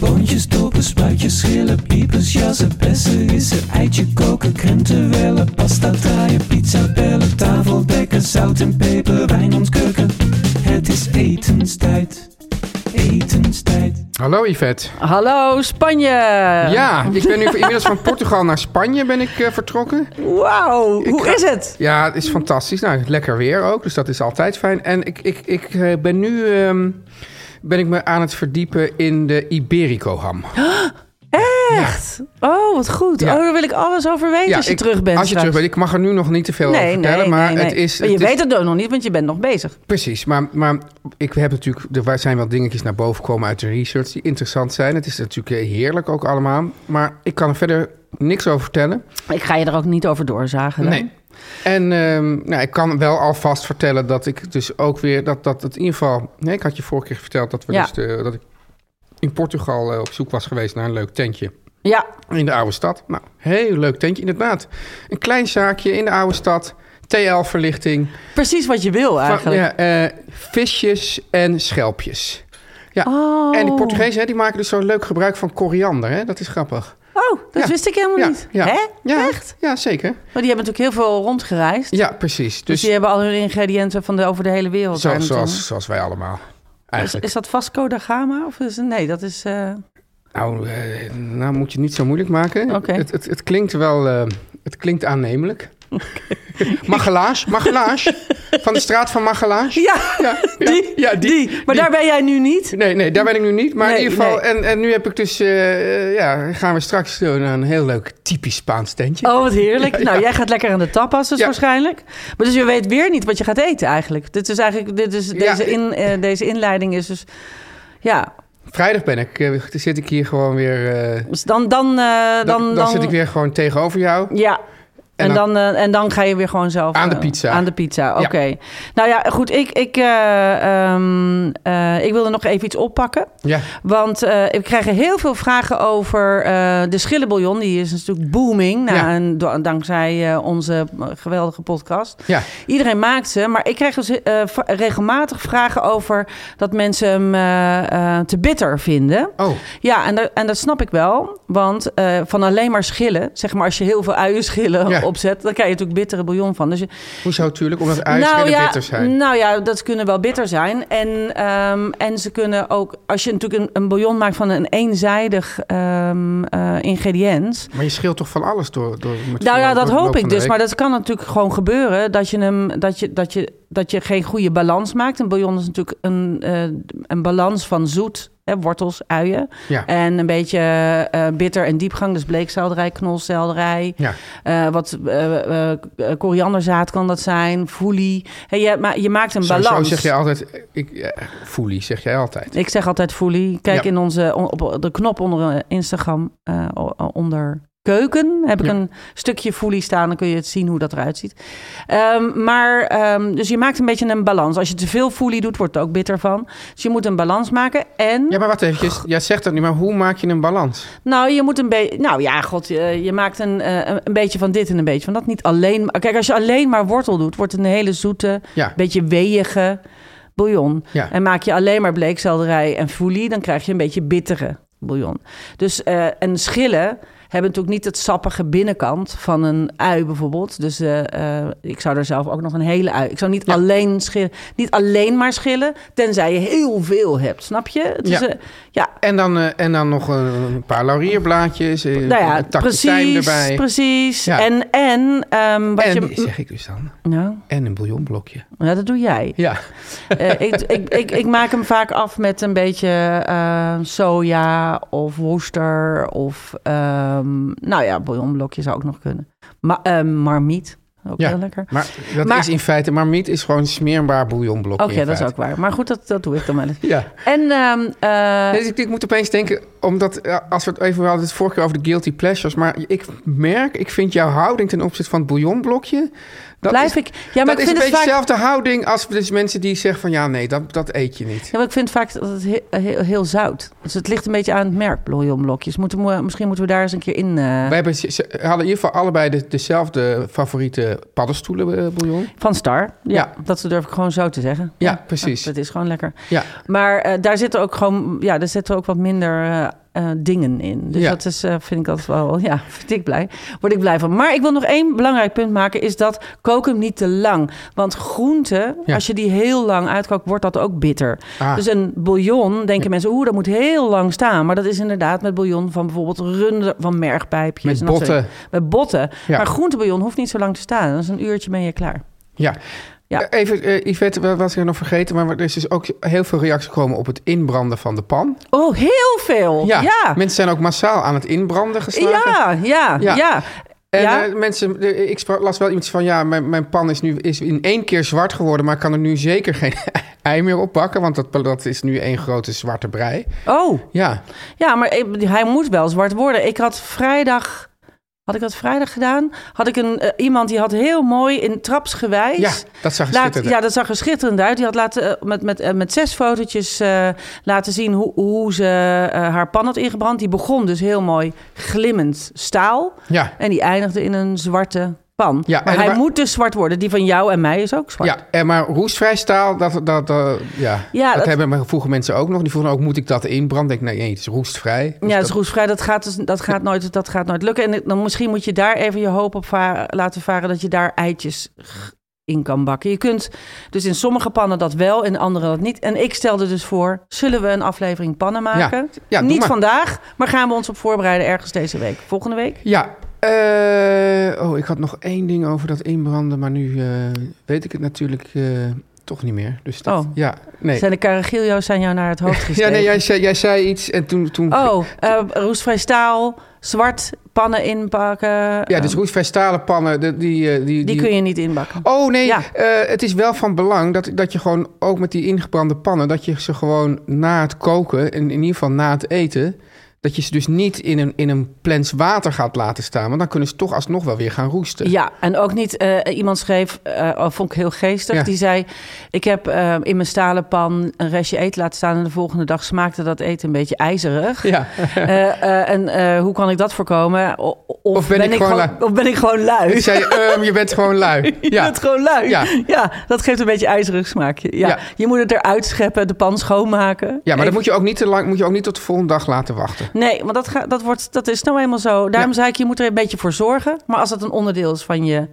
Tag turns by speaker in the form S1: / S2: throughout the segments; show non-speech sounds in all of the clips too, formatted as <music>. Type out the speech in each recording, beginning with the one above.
S1: Boontjes, dopen, spuitjes, schillen, piepers, jassen, bessen, rissen, eitje koken, krenten wellen, pasta draaien, pizza bellen, tafel dekken, zout en peper, wijn ontkurken. Het is etenstijd, etenstijd.
S2: Hallo Yvette.
S3: Hallo Spanje!
S2: Ja, ik ben nu inmiddels van Portugal naar Spanje ben ik eh, vertrokken.
S3: Wauw, hoe is het?
S2: Ja, het is fantastisch. Nou, lekker weer ook, dus dat is altijd fijn. En ik, ik, ik eh, ben nu ehm, ben ik me aan het verdiepen in de Iberico-ham.
S3: Oh, Echt? Oh, wat goed.
S2: Ja.
S3: Oh, daar wil ik alles over weten
S2: Ja,
S3: als je
S2: ik-
S3: terug bent
S2: Als je
S3: straks.
S2: terug bent. Ik mag er nu nog niet te veel over
S3: Nee,
S2: vertellen,
S3: nee,
S2: maar
S3: nee, nee.
S2: het is...
S3: Maar
S2: het
S3: je
S2: is-
S3: weet het ook nog niet, want je bent nog bezig.
S2: Precies, maar, maar ik heb natuurlijk, er wa- zijn wel dingetjes naar boven gekomen uit de research die interessant zijn. Het is natuurlijk eh, heerlijk ook allemaal, maar ik kan er verder niks over vertellen.
S3: Ik ga je er ook niet over doorzagen. dan.
S2: Nee. En ehm, nou, ik kan wel alvast vertellen dat ik dus ook weer, dat, dat het in ieder geval, nee, ik had je vorige keer verteld dat, we
S3: Ja.
S2: dus de, dat ik in Portugal eh, op zoek was geweest naar een leuk tentje.
S3: Ja,
S2: In de oude stad. Nou, heel leuk tentje inderdaad. Een klein zaakje in de oude stad. TL-verlichting.
S3: precies wat je wil eigenlijk.
S2: Ja, eh, visjes en schelpjes. Ja. En
S3: Oh.
S2: die Portugezen hè, die maken dus zo leuk gebruik van koriander. Hè? Dat is grappig.
S3: Oh, dat
S2: Ja.
S3: wist ik helemaal
S2: ja,
S3: niet.
S2: Ja.
S3: Hè?
S2: Ja,
S3: Echt?
S2: Ja, zeker.
S3: Maar die hebben natuurlijk heel veel rondgereisd. Dus,
S2: Ja, precies. Dus,
S3: die hebben al hun ingrediënten van de, over de hele wereld.
S2: zo-
S3: daar naartoe.
S2: zoals, zoals wij allemaal.
S3: Dus is,
S2: Eigenlijk.
S3: is dat Vasco da Gama? Of is, nee, dat is... eh,
S2: Nou, eh, nou moet je het niet zo moeilijk maken.
S3: Oké.
S2: Het, het, het klinkt wel... eh, het klinkt aannemelijk. Magelaas,
S3: <laughs>
S2: Magelaas. van de straat van Magelaas.
S3: Ja,
S2: ja,
S3: <laughs> die,
S2: ja,
S3: die. Maar daar ben jij nu niet.
S2: Nee, nee, daar ben ik nu niet. Maar
S3: Nee,
S2: in ieder geval,
S3: nee.
S2: en, en nu heb ik dus, eh, eh, ja, gaan we straks zo naar een heel leuk typisch Spaans tentje. <laughs>
S3: Oh, wat heerlijk. Nou, jij gaat lekker aan de tapas dus
S2: Ja.
S3: waarschijnlijk. Maar dus je weet weer niet wat je gaat eten eigenlijk. Dit is eigenlijk dit is, deze,
S2: ik-
S3: in, eh, deze inleiding is dus... Ja,
S2: Vrijdag ben ik, eh, zit ik hier gewoon weer, eh,
S3: dus dan... Dan, eh, dan,
S2: dan, dan, zit ik weer gewoon tegenover jou.
S3: Ja. En,
S2: En
S3: dan, eh, en dan ga je weer gewoon zelf...
S2: Aan de
S3: eh,
S2: pizza.
S3: aan de pizza, oké. Nou ja, goed. Ik, ik, eh, ehm, eh, ik wilde nog even iets oppakken.
S2: Ja,
S3: Want eh we krijgen heel veel vragen over eh, de schillenbouillon. Die is natuurlijk booming na
S2: Ja.
S3: een- do- dankzij eh, onze geweldige podcast.
S2: ja.
S3: Iedereen maakt ze, maar ik krijg dus eh, va- regelmatig vragen over dat mensen hem eh, eh, te bitter vinden.
S2: Oh,
S3: Ja, en, da- en dat snap ik wel. Want eh, van alleen maar schillen, zeg maar als je heel veel uien schillen
S2: Ja.
S3: opzet, dan krijg je natuurlijk bittere bouillon van. Dus je,
S2: hoezo natuurlijk? Omdat uien heel
S3: ja,
S2: bitter zijn.
S3: Nou ja, dat kunnen wel bitter zijn. En, ehm, en ze kunnen ook, als je natuurlijk een, een bouillon maakt van een eenzijdig ehm, eh, ingrediënt.
S2: Maar je scheelt toch van alles door? door met
S3: Nou ja,
S2: door
S3: dat
S2: de loop
S3: hoop
S2: van
S3: ik
S2: de
S3: dus.
S2: week?
S3: Maar dat kan natuurlijk gewoon gebeuren. Dat je, hem, dat je, dat je, dat je geen goede balans maakt. Een bouillon is natuurlijk een, eh, een balans van zoet, hè, wortels, uien.
S2: Ja.
S3: En een beetje eh, bitter en diepgang. Dus bleekselderij, knolselderij.
S2: Ja.
S3: Eh, wat eh, eh, korianderzaad kan dat zijn. Foelie. Hey, je, ma- je maakt een
S2: Sowieso
S3: balans.
S2: zeg jij altijd, ik, eh, foelie zeg jij altijd.
S3: Ik zeg altijd foelie. Kijk
S2: Ja.
S3: in onze, on- op de knop onder eh, Instagram, eh, o- onder keuken, heb ik
S2: Ja.
S3: een stukje foelie staan. Dan kun je het zien hoe dat eruit ziet. Ehm, maar, ehm, dus je maakt een beetje een balans. Als je te veel foelie doet, wordt het ook bitter van. Dus je moet een balans maken. En,
S2: Ja, maar wacht eventjes. Jij zegt dat nu, maar hoe maak je een balans?
S3: nou, je moet een beetje, nou ja, god, je, je maakt een, eh, een- een beetje van dit en een beetje van dat. Niet alleen, maar- kijk, als je alleen maar wortel doet, wordt het een hele zoete,
S2: Ja,
S3: beetje weeige bouillon.
S2: Ja.
S3: En maak je alleen maar bleekselderij en foelie, dan krijg je een beetje bittere bouillon. Dus eh, en schillen hebben natuurlijk niet het sappige binnenkant van een ui bijvoorbeeld. Dus eh, eh, ik zou er zelf ook nog een hele ui. Ik zou niet, alleen, schillen, niet alleen maar schillen, tenzij je heel veel hebt. Snap je? Het
S2: Ja.
S3: is, eh, ja.
S2: En dan, eh, en dan nog een, een paar laurierblaadjes, eh,
S3: Nou ja,
S2: een takje tijm
S3: precies,
S2: erbij.
S3: precies.
S2: Ja.
S3: En, en ehm, wat
S2: En,
S3: je...
S2: zeg ik dus dan,
S3: Nou,
S2: en een bouillonblokje.
S3: ja, dat doe
S2: <laughs>
S3: jij. <laughs>
S2: Ja,
S3: Eh, ik, ik, ik, ik maak hem vaak af met een beetje eh, soja of Worcester of... ehm, nou ja, bouillonblokje zou ook nog kunnen. Maar marmiet, ook
S2: Ja.
S3: heel lekker.
S2: maar dat
S3: Maar-
S2: is in feite, marmiet is gewoon een smeerbaar bouillonblokje
S3: Oké,
S2: in
S3: dat is
S2: feite.
S3: ook waar. Maar goed, dat, dat doe ik dan wel eens.
S2: Ja.
S3: En ehm, eh,
S2: Nee, dus ik, ik moet opeens denken, omdat eh, als we het even we hadden het vorige keer over de guilty pleasures, maar ik merk, ik vind jouw houding ten opzichte van het bouillonblokje. Dat
S3: blijf
S2: is,
S3: ik... Ja, maar
S2: dat
S3: ik
S2: is
S3: vind
S2: een
S3: het
S2: beetje
S3: vaak...
S2: dezelfde houding als dus mensen die zeggen van ja, nee, dat, dat eet je niet.
S3: Ja, maar ik vind vaak dat het heel, heel, heel zout. Dus het ligt een beetje aan het merk, bouillonblokjes. Moeten we, misschien moeten we daar eens een keer in... eh,
S2: We hebben, ze- ze hadden in ieder geval allebei de, dezelfde favoriete paddenstoelen eh, bouillon.
S3: Van Star. Ja,
S2: Ja.
S3: dat durf ik gewoon zo te zeggen.
S2: Ja, precies.
S3: Dat is gewoon lekker.
S2: Ja.
S3: Maar eh, daar zitten ook gewoon, ja, daar zitten ook wat minder eh, eh, dingen in. Dus
S2: Ja.
S3: dat is, eh, vind ik altijd wel, ja, <laughs> vind ik blij. Word ik blij van. Maar ik wil nog één belangrijk punt maken, is dat kook hem niet te lang. Want groenten,
S2: Ja.
S3: als je die heel lang uitkookt, wordt dat ook bitter.
S2: Ah.
S3: Dus een bouillon, denken mensen, oeh, dat moet heel lang staan. Maar dat is inderdaad met bouillon van bijvoorbeeld runde van mergpijpjes.
S2: Met
S3: en dat soort-
S2: botten.
S3: Met botten.
S2: Ja.
S3: Maar groentebouillon hoeft niet zo lang te staan. Dat is een uurtje ben je klaar.
S2: Ja.
S3: Ja.
S2: Eh, Even, eh, Yvette, wat was ik nog vergeten? Maar er is dus ook heel veel reacties gekomen op het inbranden van de pan.
S3: Oh, heel veel. Ja. Ja.
S2: Mensen zijn ook massaal aan het inbranden geslagen.
S3: Ja, ja,
S2: Ja.
S3: ja.
S2: En
S3: Ja.
S2: eh, mensen, de- ik spra- las wel iets van, ja, mijn, mijn pan is nu is in één keer zwart geworden, maar ik kan er nu zeker geen <laughs> ei meer op bakken, want dat, dat is nu één grote zwarte brei.
S3: Oh,
S2: Ja,
S3: ja, maar ik- hij moet wel zwart worden. Ik had vrijdag, had ik dat vrijdag gedaan? Had ik een, eh, iemand die had heel mooi in trapsgewijs...
S2: ja dat zag ik
S3: Laat,
S2: schitterend.
S3: ja, dat zag er schitterend uit. Die had laten, eh, met, met, eh, met zes fotootjes eh, laten zien hoe, hoe ze eh, haar pan had ingebrand. Die begon dus heel mooi glimmend staal.
S2: Ja.
S3: En die eindigde in een zwarte pan.
S2: Ja,
S3: maar
S2: en
S3: hij
S2: waar-
S3: moet dus zwart worden. Die van jou en mij is ook zwart.
S2: Ja, en maar roestvrij staal, dat, dat, dat, ja.
S3: Ja,
S2: dat,
S3: dat-
S2: hebben me vroegen mensen ook nog. Die vroegen ook, moet ik dat inbranden? Ik denk, nee, nee, het is roestvrij. Dus
S3: ja, het
S2: dat-
S3: is roestvrij. Dat gaat, dus, dat, gaat nooit, dat gaat nooit lukken. En het- dan misschien moet je daar even je hoop op va- laten varen dat je daar eitjes g- in kan bakken. Je kunt dus in sommige pannen dat wel, in andere dat niet. En ik stelde dus voor, zullen we een aflevering pannen maken?
S2: Ja, doe
S3: niet
S2: maar.
S3: vandaag, maar gaan we ons op voorbereiden ergens deze week. Volgende week?
S2: Ja. eh, oh, ik had nog één ding over dat inbranden, maar nu eh, weet ik het natuurlijk eh, toch niet meer. Dus dat,
S3: Oh.
S2: ja, nee.
S3: Zijn de karagiljo's zijn jou naar het hoofd
S2: <laughs> Ja,
S3: gestegen?
S2: nee, jij zei, jij zei iets en toen... toen
S3: Oh, eh, roestvrij staal, zwart, pannen inpakken. Eh,
S2: Ja, dus roestvrij stalen pannen, de- die... eh, die,
S3: Die kun je niet inbakken.
S2: Oh nee,
S3: Ja.
S2: eh, het is wel van belang dat, dat je gewoon ook met die ingebrande pannen... dat je ze gewoon na het koken, en in ieder geval na het eten... dat je ze dus niet in een, in een plens water gaat laten staan... want dan kunnen ze toch alsnog wel weer gaan roesten.
S3: Ja, en ook niet, eh, iemand schreef, eh, oh, vond ik heel geestig,
S2: Ja.
S3: die zei... ik heb eh, in mijn stalen pan een restje eten laten staan... en de volgende dag smaakte dat eten een beetje ijzerig.
S2: Ja.
S3: Eh, eh, en eh, hoe kan ik dat voorkomen? O- of,
S2: Of ben ik gewoon lui?
S3: Of ben ik gewoon lui?
S2: Ik zei, ehm, je bent gewoon lui.
S3: <laughs> Je
S2: Ja.
S3: bent gewoon lui.
S2: Ja.
S3: Ja. dat geeft een beetje ijzerig smaakje. Ja.
S2: Ja.
S3: Je moet het eruit scheppen, de pan schoonmaken.
S2: Ja, maar
S3: Even-
S2: dat moet je ook niet te lang, moet je ook niet tot de volgende dag laten wachten.
S3: Nee, want dat, ga, dat, wordt, dat is nou eenmaal zo. Daarom zei ik, je moet er een beetje voor zorgen. Maar als dat een onderdeel is van je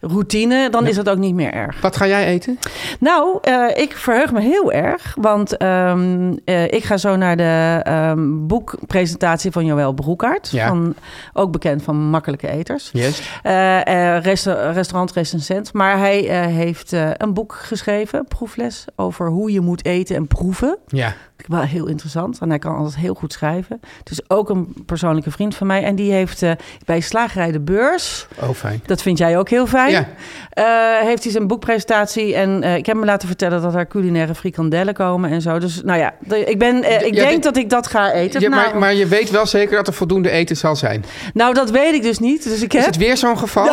S3: routine, dan is dat ook niet meer erg.
S2: Wat ga jij eten?
S3: Nou, eh, ik verheug me heel erg. Want ehm, eh, ik ga zo naar de ehm, boekpresentatie van Joël Broekaert.
S2: Ja.
S3: Van, ook bekend van Makkelijke Eters.
S2: Yes.
S3: Eh, eh, resta- restaurantrecensent. Maar hij eh, heeft eh, een boek geschreven, proefles, over hoe je moet eten en proeven.
S2: Ja.
S3: Vind ik wel heel interessant. En hij kan altijd heel goed schrijven. Het is ook een persoonlijke vriend van mij. En die heeft eh, bij Slagerij de Beurs...
S2: Oh, fijn.
S3: Dat vind jij ook heel fijn.
S2: Ja.
S3: Eh, heeft hij zijn boekpresentatie en eh, ik heb me laten vertellen dat er culinaire frikandellen komen en zo. Dus nou ja, de- ik, ben, eh, ik
S2: Ja,
S3: denk
S2: dit-
S3: dat ik dat ga eten.
S2: Ja,
S3: nou,
S2: maar, maar je weet wel zeker dat er voldoende eten zal zijn.
S3: nou, dat weet ik dus niet. Dus ik
S2: Is
S3: heb.
S2: het weer zo'n geval?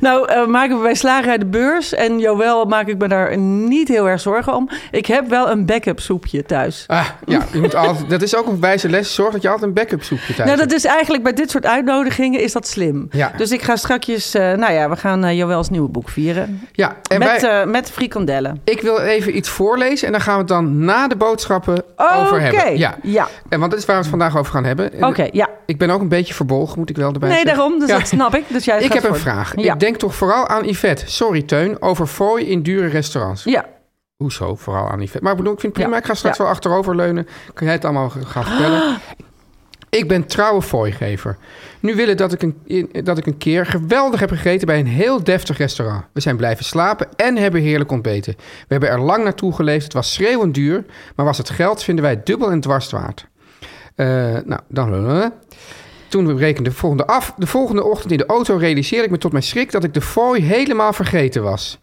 S3: Nou, eh, maken we bij slagerij de beurs. En Joël maak ik me daar niet heel erg zorgen om. Ik heb wel een backup soepje thuis.
S2: Ah, ja, je moet altijd, dat is ook een wijze les. Zorg dat je altijd een backup soepje thuis
S3: Nou, dat
S2: hebt.
S3: is eigenlijk bij dit soort uitnodigingen is dat slim.
S2: Ja.
S3: Dus ik ga strakjes, eh, nou ja, we gaan eh, Joëls nieuwe boek vieren.
S2: Ja, en
S3: met,
S2: wij-
S3: eh, met frikandellen.
S2: ik wil even iets voorlezen en dan gaan we het dan na de boodschappen over
S3: Oké,
S2: hebben. Ja.
S3: ja.
S2: En want dat is waar we het vandaag over gaan hebben. En
S3: Oké, ja.
S2: Ik ben ook een beetje verbolgen, moet ik wel erbij
S3: Nee,
S2: zeggen.
S3: daarom, dus
S2: Ja.
S3: dat snap ik. Dus jij
S2: Ik
S3: gaat
S2: heb een
S3: voor.
S2: vraag.
S3: Ja.
S2: Ik denk toch vooral aan Yvette. Sorry, Teun, over fooi in dure restaurants.
S3: Ja,
S2: Hoezo, vooral aan Yvette. Maar ik bedoel, ik vind het prima.
S3: Ja.
S2: Ik ga straks
S3: Ja. Ah.
S2: wel achteroverleunen. Kan jij het allemaal g- gaan vertellen? Ik ben trouwe fooigever. Nu willen dat ik, een, in- dat ik een keer geweldig heb gegeten bij een heel deftig restaurant. We zijn blijven slapen en hebben heerlijk ontbeten. We hebben er lang naartoe geleefd. Het was schreeuwend duur. Maar was het geld, vinden wij dubbel en dwars waard. Eh, nou, dan... Toen we rekenden de volgende af. De volgende ochtend in de auto realiseerde ik me tot mijn schrik dat ik de fooi helemaal vergeten was.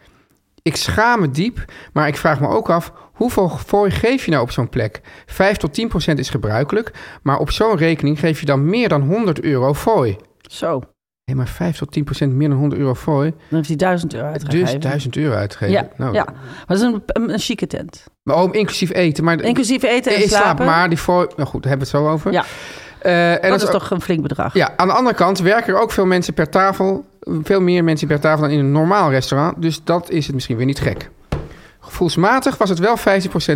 S2: Ik schaam me diep, maar ik vraag me ook af... hoeveel fooi geef je nou op zo'n plek? 5 tot 10 procent is gebruikelijk... maar op zo'n rekening geef je dan meer dan 100 euro fooi.
S3: zo.
S2: Hé, maar 5 tot 10 procent meer dan 100 euro fooi...
S3: Dan heeft hij 1000 euro uitgegeven.
S2: dus 1000 euro uitgeven.
S3: Ja,
S2: nou,
S3: ja. Maar dat is een, een, een chique tent.
S2: Maar ook inclusief eten. Maar,
S3: Inclusief eten en
S2: Eh,
S3: slapen.
S2: Maar die fooi... Nou goed, daar hebben we het zo over.
S3: Ja,
S2: Eh, en
S3: dat is
S2: ook-
S3: toch een flink bedrag.
S2: Ja, aan de andere kant werken er ook veel mensen per tafel. Veel meer mensen per tafel dan in een normaal restaurant. Dus dat is het misschien weer niet gek. Gevoelsmatig was het wel 15%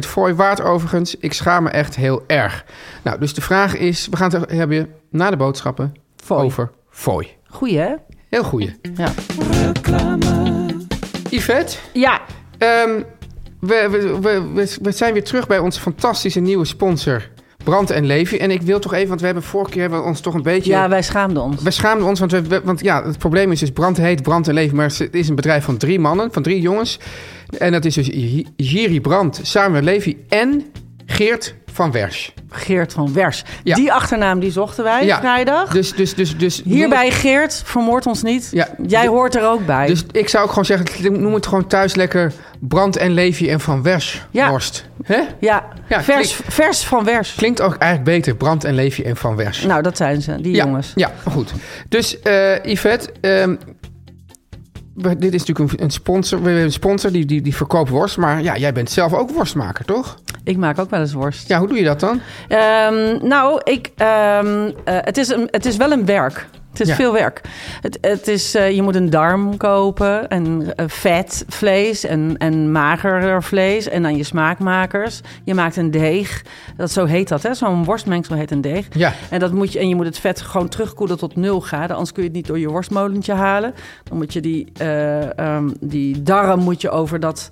S2: fooi waard overigens. Ik schaam me echt heel erg. Nou, dus de vraag is... We gaan het hebben na de boodschappen
S3: Fooi.
S2: over fooi.
S3: Goeie, hè?
S2: Heel goeie.
S3: Ja.
S2: Yvette,
S3: Ja,
S2: ehm, we, we, we, we- we zijn weer terug bij onze fantastische nieuwe sponsor... Brand en Levy. En ik wil toch even, want we hebben vorige keer hebben we ons toch een beetje...
S3: ja wij schaamden ons.
S2: We schaamden ons, want, we- we- want ja, het probleem is dus brand heet, brand en leven. Maar het is een bedrijf van drie mannen, van drie jongens. En dat is dus J- Jiri Brand, Samuel Levy en Geert van Wersch.
S3: Geert van Wers.
S2: Ja.
S3: Die achternaam die zochten wij
S2: Ja.
S3: vrijdag.
S2: Dus, dus, dus, dus,
S3: Hierbij Geert, vermoord ons niet.
S2: Ja.
S3: Jij
S2: De-
S3: hoort er ook bij.
S2: Dus ik zou ook gewoon zeggen, noem het gewoon thuis lekker brand en Levy en van Wersch
S3: Ja.
S2: worst. Hè?
S3: ja,
S2: Ja,
S3: vers, vers van Wers.
S2: Klinkt ook eigenlijk beter, brand en Levy en van Wersch.
S3: Nou, dat zijn ze, die
S2: ja,
S3: jongens.
S2: Ja, goed. Dus eh, Yvette, ehm, we- dit is natuurlijk een, een sponsor. We hebben een sponsor die, die, die verkoopt worst. Maar ja, jij bent zelf ook worstmaker, toch?
S3: Ik maak ook wel eens worst.
S2: Ja, hoe doe je dat dan?
S3: Ehm, nou, ik, ehm, eh, het, is een, het is wel een werk. Het is
S2: Ja.
S3: veel werk. Het, het is, eh, je moet een darm kopen en eh, vet vlees en, en magerder vlees en dan je smaakmakers. Je maakt een deeg. Dat, zo heet dat, hè? Zo'n worstmengsel heet een deeg.
S2: Ja.
S3: En, dat moet je, en je moet het vet gewoon terugkoelen tot nul graden. Anders kun je het niet door je worstmolentje halen. Dan moet je die, eh, ehm, die darm moet je over dat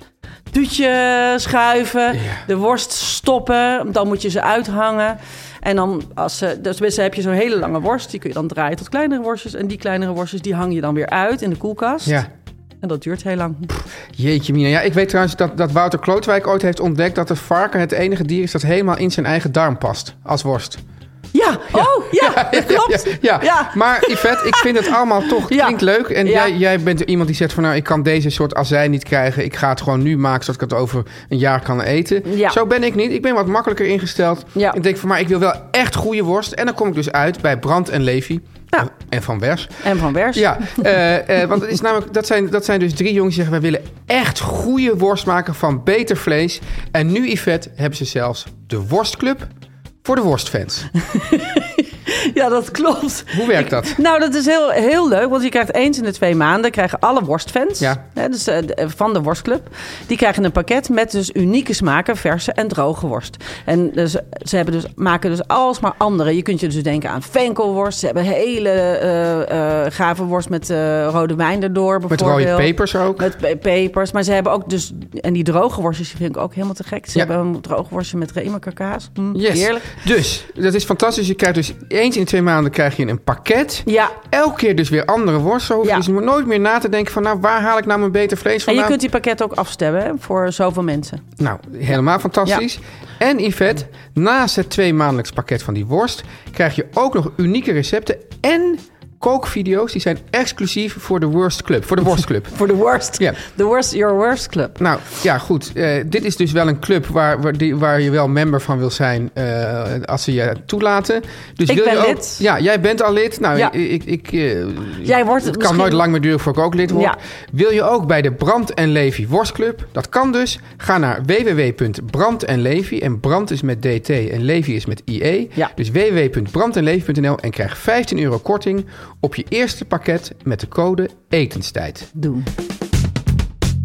S3: tuutje schuiven. De worst stoppen. Dan moet je ze uithangen. En dan als ze, dus tenminste heb je zo'n hele lange worst. Die kun je dan draaien tot kleinere worstjes. En die kleinere worstjes die hang je dan weer uit in de koelkast.
S2: Ja.
S3: En dat duurt heel lang.
S2: Jeetje mina. Ja, ik weet trouwens dat, dat Wouter Klootwijk ooit heeft ontdekt... dat het varken het enige dier is dat helemaal in zijn eigen darm past. Als worst.
S3: Ja, oh ja, dat klopt.
S2: Ja, ja. maar Yvette, ik vind het allemaal toch...
S3: <laughs> Ja.
S2: klinkt leuk. En
S3: Ja.
S2: jij, jij bent iemand die zegt van... nou, ik kan deze soort azijn niet krijgen. Ik ga het gewoon nu maken, zodat ik het over een jaar kan eten.
S3: Ja.
S2: Zo ben ik niet. Ik ben wat makkelijker ingesteld.
S3: Ja.
S2: Ik denk van, maar ik wil wel echt goede worst. En dan kom ik dus uit bij Brand en Levy.
S3: Ja.
S2: En Van Wers.
S3: Nou. En van Wers.
S2: Ja, eh, eh, want het is namelijk, dat, zijn, dat zijn dus drie jongens die zeggen... wij willen echt goede worst maken van beter vlees. En nu, Yvette, hebben ze zelfs de worstclub voor de worstfans.
S3: Ja, dat klopt.
S2: Hoe
S3: <laughs>
S2: werkt dat?
S3: Nou, dat is heel, heel leuk, want je krijgt eens in de twee maanden krijgen alle worstfans
S2: Ja.
S3: hè, dus, eh, de- van de worstclub. Die krijgen een pakket met dus unieke smaken, verse en droge worst. En dus, ze hebben dus, maken dus alsmaar andere. Je kunt je dus denken aan venkelworst. Ze hebben hele eh, eh, gave worst met eh, rode wijn erdoor
S2: Met
S3: bijvoorbeeld.
S2: rode pepers ook.
S3: Met pe- pepers. Maar ze hebben ook dus... En die droge worstjes die vind ik ook helemaal te gek. Ze
S2: Ja.
S3: hebben een droge worstje met remerkakaas. Hm,
S2: Yes.
S3: Heerlijk.
S2: Dus, dat is fantastisch. Je krijgt dus eens in de twee maanden krijg je een pakket.
S3: Ja,
S2: Elke keer dus weer andere worst. Zo hoef je
S3: Ja.
S2: dus nooit meer na te denken van... nou, waar haal ik nou mijn beter vlees
S3: en
S2: vandaan?
S3: je kunt die pakket ook afstemmen hè, voor zoveel mensen.
S2: Nou, helemaal fantastisch. En Yvette, naast het twee maandelijks pakket van die worst... krijg je ook nog unieke recepten en kookvideo's die zijn exclusief voor de Worst Club. Voor de Worst Club.
S3: Voor de worst.
S2: Ja.
S3: The worst, your worst club.
S2: Nou ja, goed. Eh, dit is dus wel een club waar, waar, die, waar je wel member van wil zijn eh, als ze je toelaten. Dus
S3: Ik
S2: wil
S3: ben
S2: je ook,
S3: lid.
S2: Ja, jij bent al lid. Nou,
S3: Ja.
S2: ik, ik, eh,
S3: Jij wordt
S2: het kan
S3: misschien-
S2: nooit lang meer duren voor ik ook lid word.
S3: Ja.
S2: Wil je ook bij de Brand en Levy Worstclub? Dat kan dus. Ga naar www.brand en Levy. En Brand is met DT en Levy is met IE.
S3: Ja.
S2: Dus www.brandenlevy.nl en krijg 15 euro korting op je eerste pakket met de code etenstijd.
S3: Doen.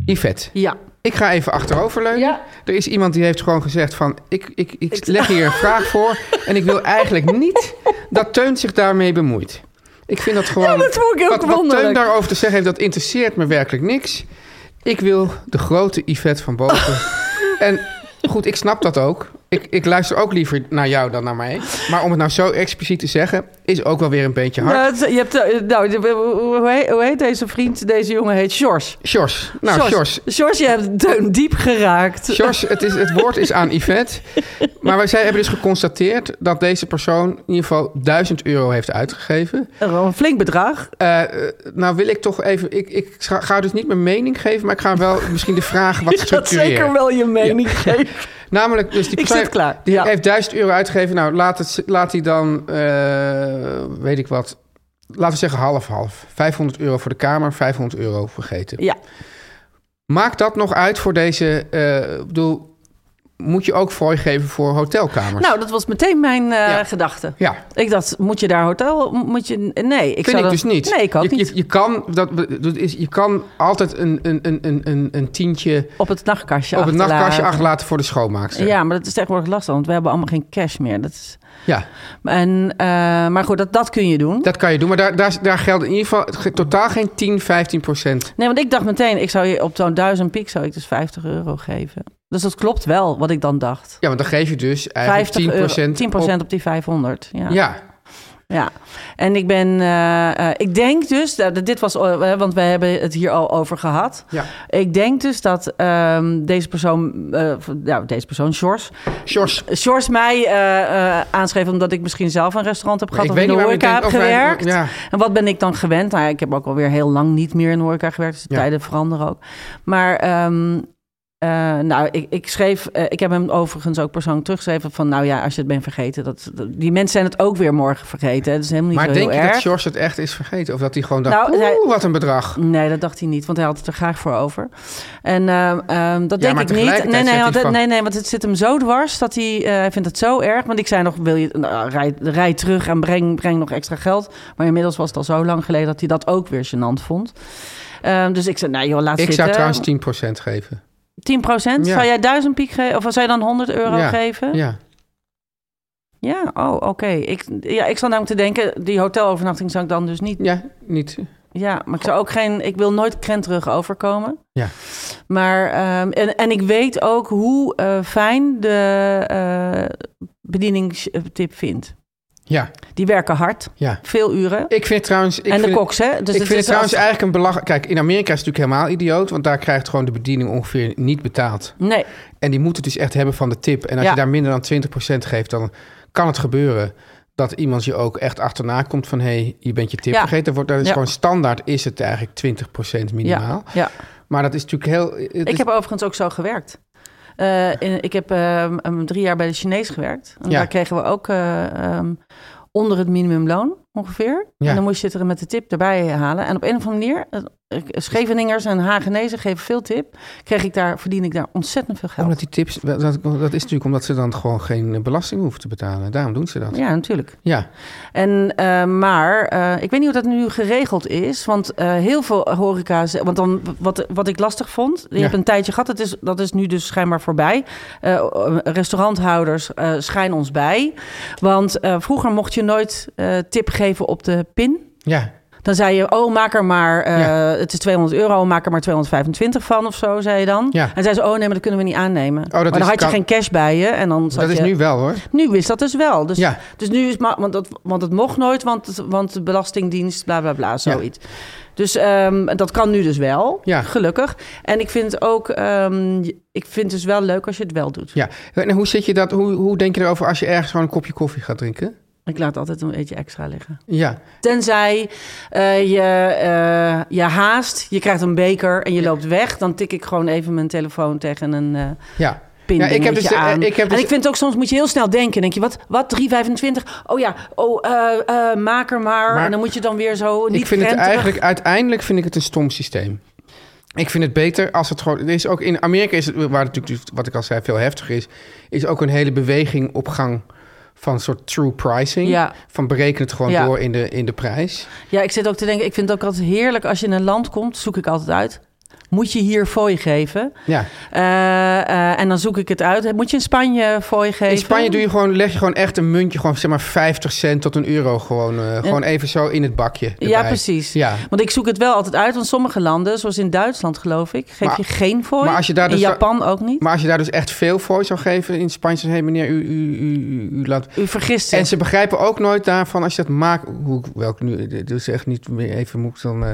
S2: Yvette.
S3: Ja.
S2: Ik ga even achteroverleunen.
S3: Ja.
S2: Er is iemand die heeft gewoon gezegd van... Ik, ik, ik leg hier een vraag voor... en ik wil eigenlijk niet dat Teun zich daarmee bemoeit. Ik vind dat gewoon...
S3: Ja, dat vond ik heel
S2: wat, wat
S3: wonderlijk.
S2: Teun daarover te zeggen heeft, dat interesseert me werkelijk niks. Ik wil de grote Yvette van boven.
S3: <laughs>
S2: en goed, ik snap dat ook. Ik, ik luister ook liever naar jou dan naar mij. Maar om het nou zo expliciet te zeggen... is ook wel weer een beetje hard.
S3: Nou, het- je hebt, eh, nou, de- hoe heet, hoe heet deze vriend? Deze jongen heet Sjors.
S2: Sjors. Nou, Sjors,
S3: Sjors, je hebt Teun diep geraakt.
S2: Sjors, het, is, het woord is aan Yvette. Maar wij zij hebben dus geconstateerd dat deze persoon in ieder geval 1000 euro heeft uitgegeven.
S3: Wel Een flink bedrag.
S2: Eh, eh, nou wil ik toch even, ik, ik ga ga dus niet mijn mening geven, maar ik ga wel misschien de vraag
S3: <laughs>
S2: wat
S3: Ik had
S2: structureren.
S3: zeker wel je mening geven.
S2: Namelijk, dus die
S3: Ik
S2: persoon
S3: zit klaar,
S2: die
S3: ja.
S2: heeft 1000 euro uitgegeven. Nou, laat, het, laat hij dan, eh, weet ik wat, laten we zeggen half-half. 500 euro voor de kamer, 500 euro vergeten.
S3: Ja.
S2: Maakt dat nog uit voor deze, eh, ik bedoel, moet je ook fooi geven voor hotelkamers?
S3: Nou, dat was meteen mijn eh,
S2: Ja.
S3: gedachte.
S2: Ja,
S3: Ik dacht, moet je daar hotel? Moet je... Nee, ik
S2: vind
S3: zou
S2: ik
S3: dat...
S2: dus niet.
S3: Nee, ik ook
S2: je,
S3: niet.
S2: Je, je, kan, dat, dat is, je kan altijd een, een, een, een, een, een tientje
S3: Op het nachtkastje
S2: op het
S3: achterlaten.
S2: nachtkastje achterlaten voor de schoonmaakster.
S3: Ja, maar dat is tegenwoordig lastig, want we hebben allemaal geen cash meer. Dat is...
S2: Ja,
S3: en, eh, maar goed, dat, dat kun je doen.
S2: dat kan je doen. Maar daar, daar, daar geldt in ieder geval ge- totaal geen 10, 15 procent.
S3: Nee, want ik dacht meteen, ik zou je op zo'n duizend piek zou ik dus 50 euro geven. Dus dat klopt wel, wat ik dan dacht.
S2: Ja, want dan geef je dus
S3: 50
S2: eigenlijk 10
S3: euro,
S2: procent
S3: 10 op, die 500. Ja.
S2: Ja,
S3: Ja. En ik ben, eh, eh, ik denk dus, dat dit was, eh, want we hebben het hier al over gehad.
S2: ja.
S3: Ik denk dus dat ehm, deze persoon, eh, nou, deze persoon, Sjors,
S2: Sjors,
S3: Sjors mij eh, eh, aanschreef omdat ik misschien zelf een restaurant heb gehad
S2: ik
S3: of
S2: weet
S3: in de
S2: niet waarom
S3: horeca
S2: ik
S3: heb
S2: denk, oh, wij-
S3: gewerkt.
S2: ja.
S3: En wat ben ik dan gewend? Nou, ja, ik heb ook alweer heel lang niet meer in de horeca gewerkt, dus de
S2: Ja.
S3: tijden veranderen ook. Maar ehm, eh, nou, ik, ik schreef, eh, ik heb hem overigens ook persoonlijk teruggeschreven van, nou ja, als je het bent vergeten, dat, dat- die mensen zijn het ook weer morgen vergeten. hè. Dat is helemaal niet
S2: maar
S3: zo
S2: denk
S3: heel
S2: je dat
S3: erg.
S2: Sjors het echt is vergeten? Of dat hij gewoon dacht,
S3: Nou,
S2: oeh,
S3: hij-
S2: wat een bedrag.
S3: Nee, dat dacht hij niet, want hij had het er graag voor over. En ehm, ehm, dat
S2: Ja,
S3: denk
S2: maar
S3: ik niet.
S2: tegelijkertijd
S3: Nee nee,
S2: zegt hij
S3: want het-
S2: van-
S3: nee, nee, want het zit hem zo dwars dat hij, eh, hij vindt het zo erg. Want ik zei nog, wil je, nou, rij, rij terug en breng, breng nog extra geld. Maar inmiddels was het al zo lang geleden dat hij dat ook weer gênant vond. Ehm, dus ik zei, nou joh, laat
S2: Ik
S3: zitten.
S2: zou trouwens 10 procent geven.
S3: 10 procent?
S2: Ja.
S3: Zou jij 1000 piek geven? Of zou je dan 100 euro
S2: ja.
S3: geven?
S2: Ja.
S3: Ja, oh, oké. Ik, ja, ik zat namelijk te denken, die hotelovernachting zou ik dan dus niet
S2: ja, niet.
S3: Ja, maar ik zou ook geen. Ik wil nooit krenterig overkomen.
S2: Ja.
S3: Maar ehm, en, en ik weet ook hoe eh, fijn de eh, bedieningstip vindt.
S2: Ja,
S3: Die werken hard,
S2: ja.
S3: veel uren.
S2: Ik vind trouwens... Ik
S3: en de
S2: vind-
S3: koks, hè? Dus
S2: ik
S3: het
S2: vind het
S3: is
S2: trouwens
S3: als-
S2: eigenlijk een belachelijk... Kijk, in Amerika is het natuurlijk helemaal idioot... want daar krijgt gewoon de bediening ongeveer niet betaald.
S3: Nee,
S2: En die moeten het dus echt hebben van de tip. En als
S3: Ja.
S2: je daar minder dan 20% geeft... dan kan het gebeuren dat iemand je ook echt achterna komt van... hé, hey, je bent je tip
S3: Ja.
S2: vergeten. Dat wordt, dat is
S3: Ja.
S2: gewoon standaard is het eigenlijk 20% minimaal.
S3: ja, ja.
S2: Maar dat is natuurlijk heel... het
S3: Ik
S2: is-
S3: heb overigens ook zo gewerkt. Eh, in- ik heb ehm, ehm, drie jaar bij de Chinees gewerkt. En
S2: Ja.
S3: daar kregen we ook eh, ehm, onder het minimumloon ongeveer.
S2: Ja.
S3: En dan moest je het er met de tip erbij halen. En op een of andere manier, eh, ik- Scheveningers en Hagenezen geven veel tip. Kreeg ik daar, verdien ik daar ontzettend veel geld.
S2: omdat die tips, dat, dat is natuurlijk omdat ze dan gewoon geen belasting hoeven te betalen. Daarom doen ze dat.
S3: Ja, natuurlijk.
S2: Ja,
S3: En, eh, maar eh, ik weet niet hoe dat nu geregeld is. Want eh, heel veel horeca's... Want dan, wat, wat ik lastig vond... Je
S2: Ja.
S3: hebt een tijdje gehad, dat is, dat is nu dus schijnbaar voorbij. Eh, restauranthouders, eh schijn ons bij. Want eh, vroeger mocht je nooit eh, tip geven op de pin.
S2: ja.
S3: Dan zei je, oh, maak er maar... eh,
S2: Ja.
S3: Het is 200 euro, maak er maar 225 van of zo, zei je dan.
S2: Ja. Oh,
S3: En zei ze, oh nee, maar dat kunnen we niet aannemen. maar dan
S2: is-
S3: had je
S2: kan-
S3: geen cash bij je. En dan zat
S2: dat is
S3: je,
S2: nu wel hoor.
S3: nu is dat dus wel. Dus,
S2: Ja.
S3: dus nu is maar, want, dat, want het mocht nooit, want, het- want de Belastingdienst, bla bla bla, zoiets. Dus ehm, dat kan nu dus wel,
S2: Ja.
S3: gelukkig. En ik vind het ook, ehm, je- ik vind het dus wel leuk als je het wel doet.
S2: Ja, en hoe zit je dat? Hoe, hoe denk je erover als je ergens gewoon een kopje koffie gaat drinken?
S3: Ik laat altijd een beetje extra liggen.
S2: Ja,
S3: Tenzij eh, je, eh, je haast, je krijgt een beker en je loopt weg. Dan tik ik gewoon even mijn telefoon tegen een eh
S2: ja.
S3: pin.
S2: Ja, ik heb dus-
S3: aan.
S2: eh, ik heb dus-
S3: En ik vind ook soms moet je heel snel denken. Denk je, wat, wat 3,25? Oh ja, oh, eh, eh, maak er maar.
S2: Maar
S3: En dan moet je dan weer zo niet
S2: ik vind het
S3: renterig.
S2: eigenlijk, uiteindelijk vind ik het een stom systeem. Ik vind het beter als het gewoon. Er is ook in Amerika is het, waar het natuurlijk, dus, wat ik al zei, veel heftiger is, is ook een hele beweging op gang van een soort true pricing.
S3: Ja.
S2: Van bereken het gewoon
S3: Ja.
S2: door in de, in de prijs.
S3: Ja, ik zit ook te denken, ik vind het ook altijd heerlijk als je in een land komt, zoek ik altijd uit. Moet je hier fooi geven?
S2: Ja.
S3: Eh, eh, en dan zoek ik het uit. Moet je in Spanje fooi geven?
S2: In Spanje doe je gewoon, leg je gewoon echt een muntje, gewoon zeg maar 50 cent tot een euro, gewoon, eh, gewoon even zo in het bakje.
S3: Ja,
S2: erbij.
S3: precies.
S2: Ja.
S3: Want ik zoek het wel altijd uit, want sommige landen, zoals in Duitsland geloof ik, geef
S2: Maar-
S3: je geen fooi.
S2: maar als je daar
S3: in
S2: dus-
S3: Japan ook niet.
S2: Maar als je daar dus echt veel voor zou geven in Spanje, hé hey, meneer, u, u, u, u, u laat.
S3: U vergist zich.
S2: En ze begrijpen ook nooit daarvan als je dat maakt. Hoe ik welk nu. Dus echt niet meer even moet ik dan. eh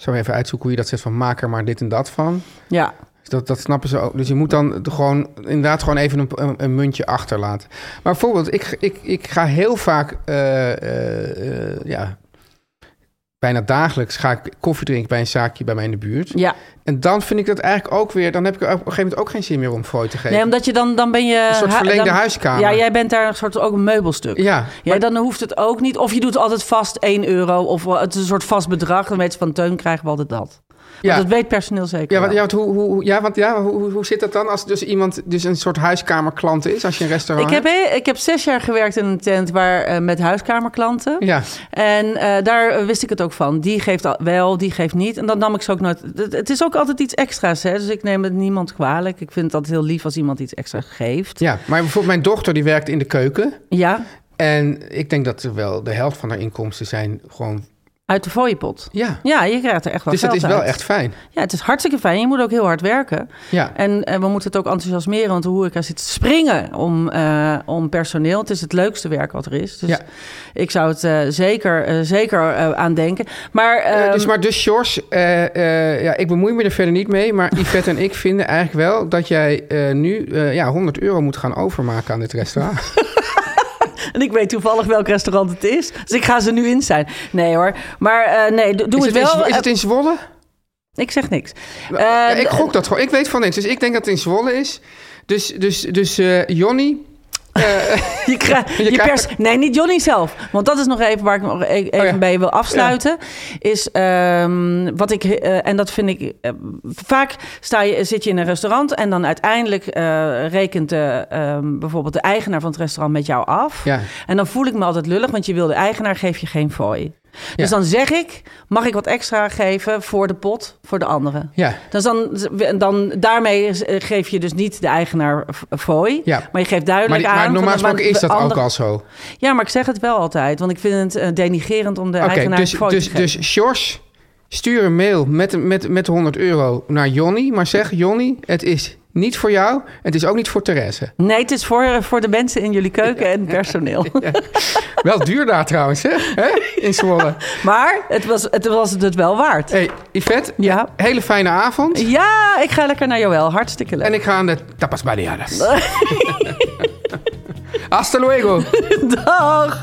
S2: zo even uitzoeken hoe je dat zegt van maak er maar dit en dat van.
S3: Ja.
S2: Dus dat, dat snappen ze ook. Dus je moet dan de- gewoon inderdaad gewoon even een, een, een muntje achterlaten. Maar bijvoorbeeld, ik, ik, ik ga heel vaak. eh, eh, eh, ja, bijna dagelijks ga ik koffie drinken bij een zaakje bij mij in de buurt.
S3: ja.
S2: En dan vind ik dat eigenlijk ook weer. Dan heb ik er op een gegeven moment ook geen zin meer om fooi te geven.
S3: Nee, omdat je dan, dan ben je...
S2: Een soort
S3: hu-
S2: verlengde
S3: dan-
S2: huiskamer.
S3: Ja, jij bent daar een soort ook een meubelstuk.
S2: Ja,
S3: Ja, dan hoeft het ook niet. Of je doet altijd vast 1 euro. Of wel- het is een soort vast bedrag. Dan weet ze van Teun krijgen we altijd dat.
S2: ja.
S3: Ja. Dat weet personeel zeker.
S2: Ja, want,
S3: wel.
S2: ja, want hoe, hoe, hoe- ja, want ja, hoe, hoe- hoe zit dat dan als dus iemand dus een soort huiskamerklant is als je een restaurant
S3: Ik heb, he- ik heb zes jaar gewerkt in een tent waar, eh, met huiskamerklanten.
S2: hebt? Ja,
S3: En eh, daar eh, wist ik het ook van. Die geeft al wel, die geeft niet. En dan nam ik ze ook nooit. Het, het is ook altijd iets extra's. Hè? Dus ik neem het niemand kwalijk. Ik vind het altijd heel lief als iemand iets extra geeft.
S2: ja, maar bijvoorbeeld mijn dochter die werkt in de keuken
S3: Ja,
S2: en ik denk dat er wel de helft van haar inkomsten zijn gewoon
S3: uit de fooiepot.
S2: ja.
S3: Ja, je krijgt er echt wel
S2: Dus dat
S3: geld
S2: is wel
S3: uit.
S2: echt fijn.
S3: Ja, het is hartstikke fijn. Je moet ook heel hard werken.
S2: Ja.
S3: En eh, we moeten het ook enthousiasmeren, want hoe ik er zit te springen om, eh, om personeel. Het is het leukste werk wat er is. Dus
S2: Ja.
S3: ik zou het eh, zeker, eh, zeker eh, aan denken. Maar,
S2: Eh,
S3: ehm,
S2: dus maar dus Sjors, eh, eh, ja, ik bemoei me er verder niet mee, maar Yvette en ik vinden eigenlijk wel dat jij eh, nu eh, ja, 100 euro moet gaan overmaken aan dit restaurant.
S3: En ik weet toevallig welk restaurant het is. Dus ik ga ze nu in zijn. Nee hoor. Maar eh, nee, do- doe
S2: is
S3: het,
S2: in
S3: wel.
S2: Zwo- is
S3: Eh,
S2: het in Zwolle?
S3: Ik zeg niks. Eh,
S2: Ja, ik gok dat gewoon. Ik weet van niks. Dus ik denk dat het in Zwolle is. Dus, dus, dus eh, Jonny.
S3: Je,
S2: <laughs>
S3: krijgt-
S2: Je
S3: je
S2: krijgt-
S3: pers, nee, niet Johnny zelf. Want dat is nog even waar ik nog e- even
S2: Oh ja.
S3: bij wil afsluiten. Is ehm, wat ik, eh, en dat vind ik. eh, vaak sta je, zit je in een restaurant en dan uiteindelijk eh, rekent de, ehm, bijvoorbeeld de eigenaar van het restaurant met jou af.
S2: Ja.
S3: En dan voel ik me altijd lullig, want je wil de eigenaar, geef je geen fooi. Dus
S2: Ja.
S3: dan zeg ik, mag ik wat extra geven voor de pot, voor de anderen?
S2: Ja.
S3: Dus dan, dan, daarmee geef je dus niet de eigenaar f- fooi,
S2: Ja.
S3: maar je geeft duidelijk
S2: Maar, die- maar
S3: aan... van,
S2: normaal
S3: want
S2: gesproken is dat
S3: andere-
S2: ook al zo.
S3: Ja, maar ik zeg het wel altijd, want ik vind het eh, denigerend om de
S2: Oké,
S3: eigenaar
S2: dus,
S3: fooi te
S2: dus,
S3: geven.
S2: dus Sjors, stuur een mail met, met, met 100 euro naar Jonny. Maar zeg, Jonny, het is niet voor jou. Het is ook niet voor Therese.
S3: Nee, het is voor, eh, voor de mensen in jullie keuken en
S2: <laughs>
S3: personeel.
S2: Wel duur daar trouwens, hè? Hè? In Zwolle.
S3: Maar het was, het was het wel waard.
S2: hey, Yvette,
S3: Ja.
S2: hele fijne avond.
S3: Ja, ik ga lekker naar Joël. Hartstikke leuk.
S2: En ik ga aan de tapas
S3: <laughs>
S2: baleadas. Hasta luego.
S3: Dag!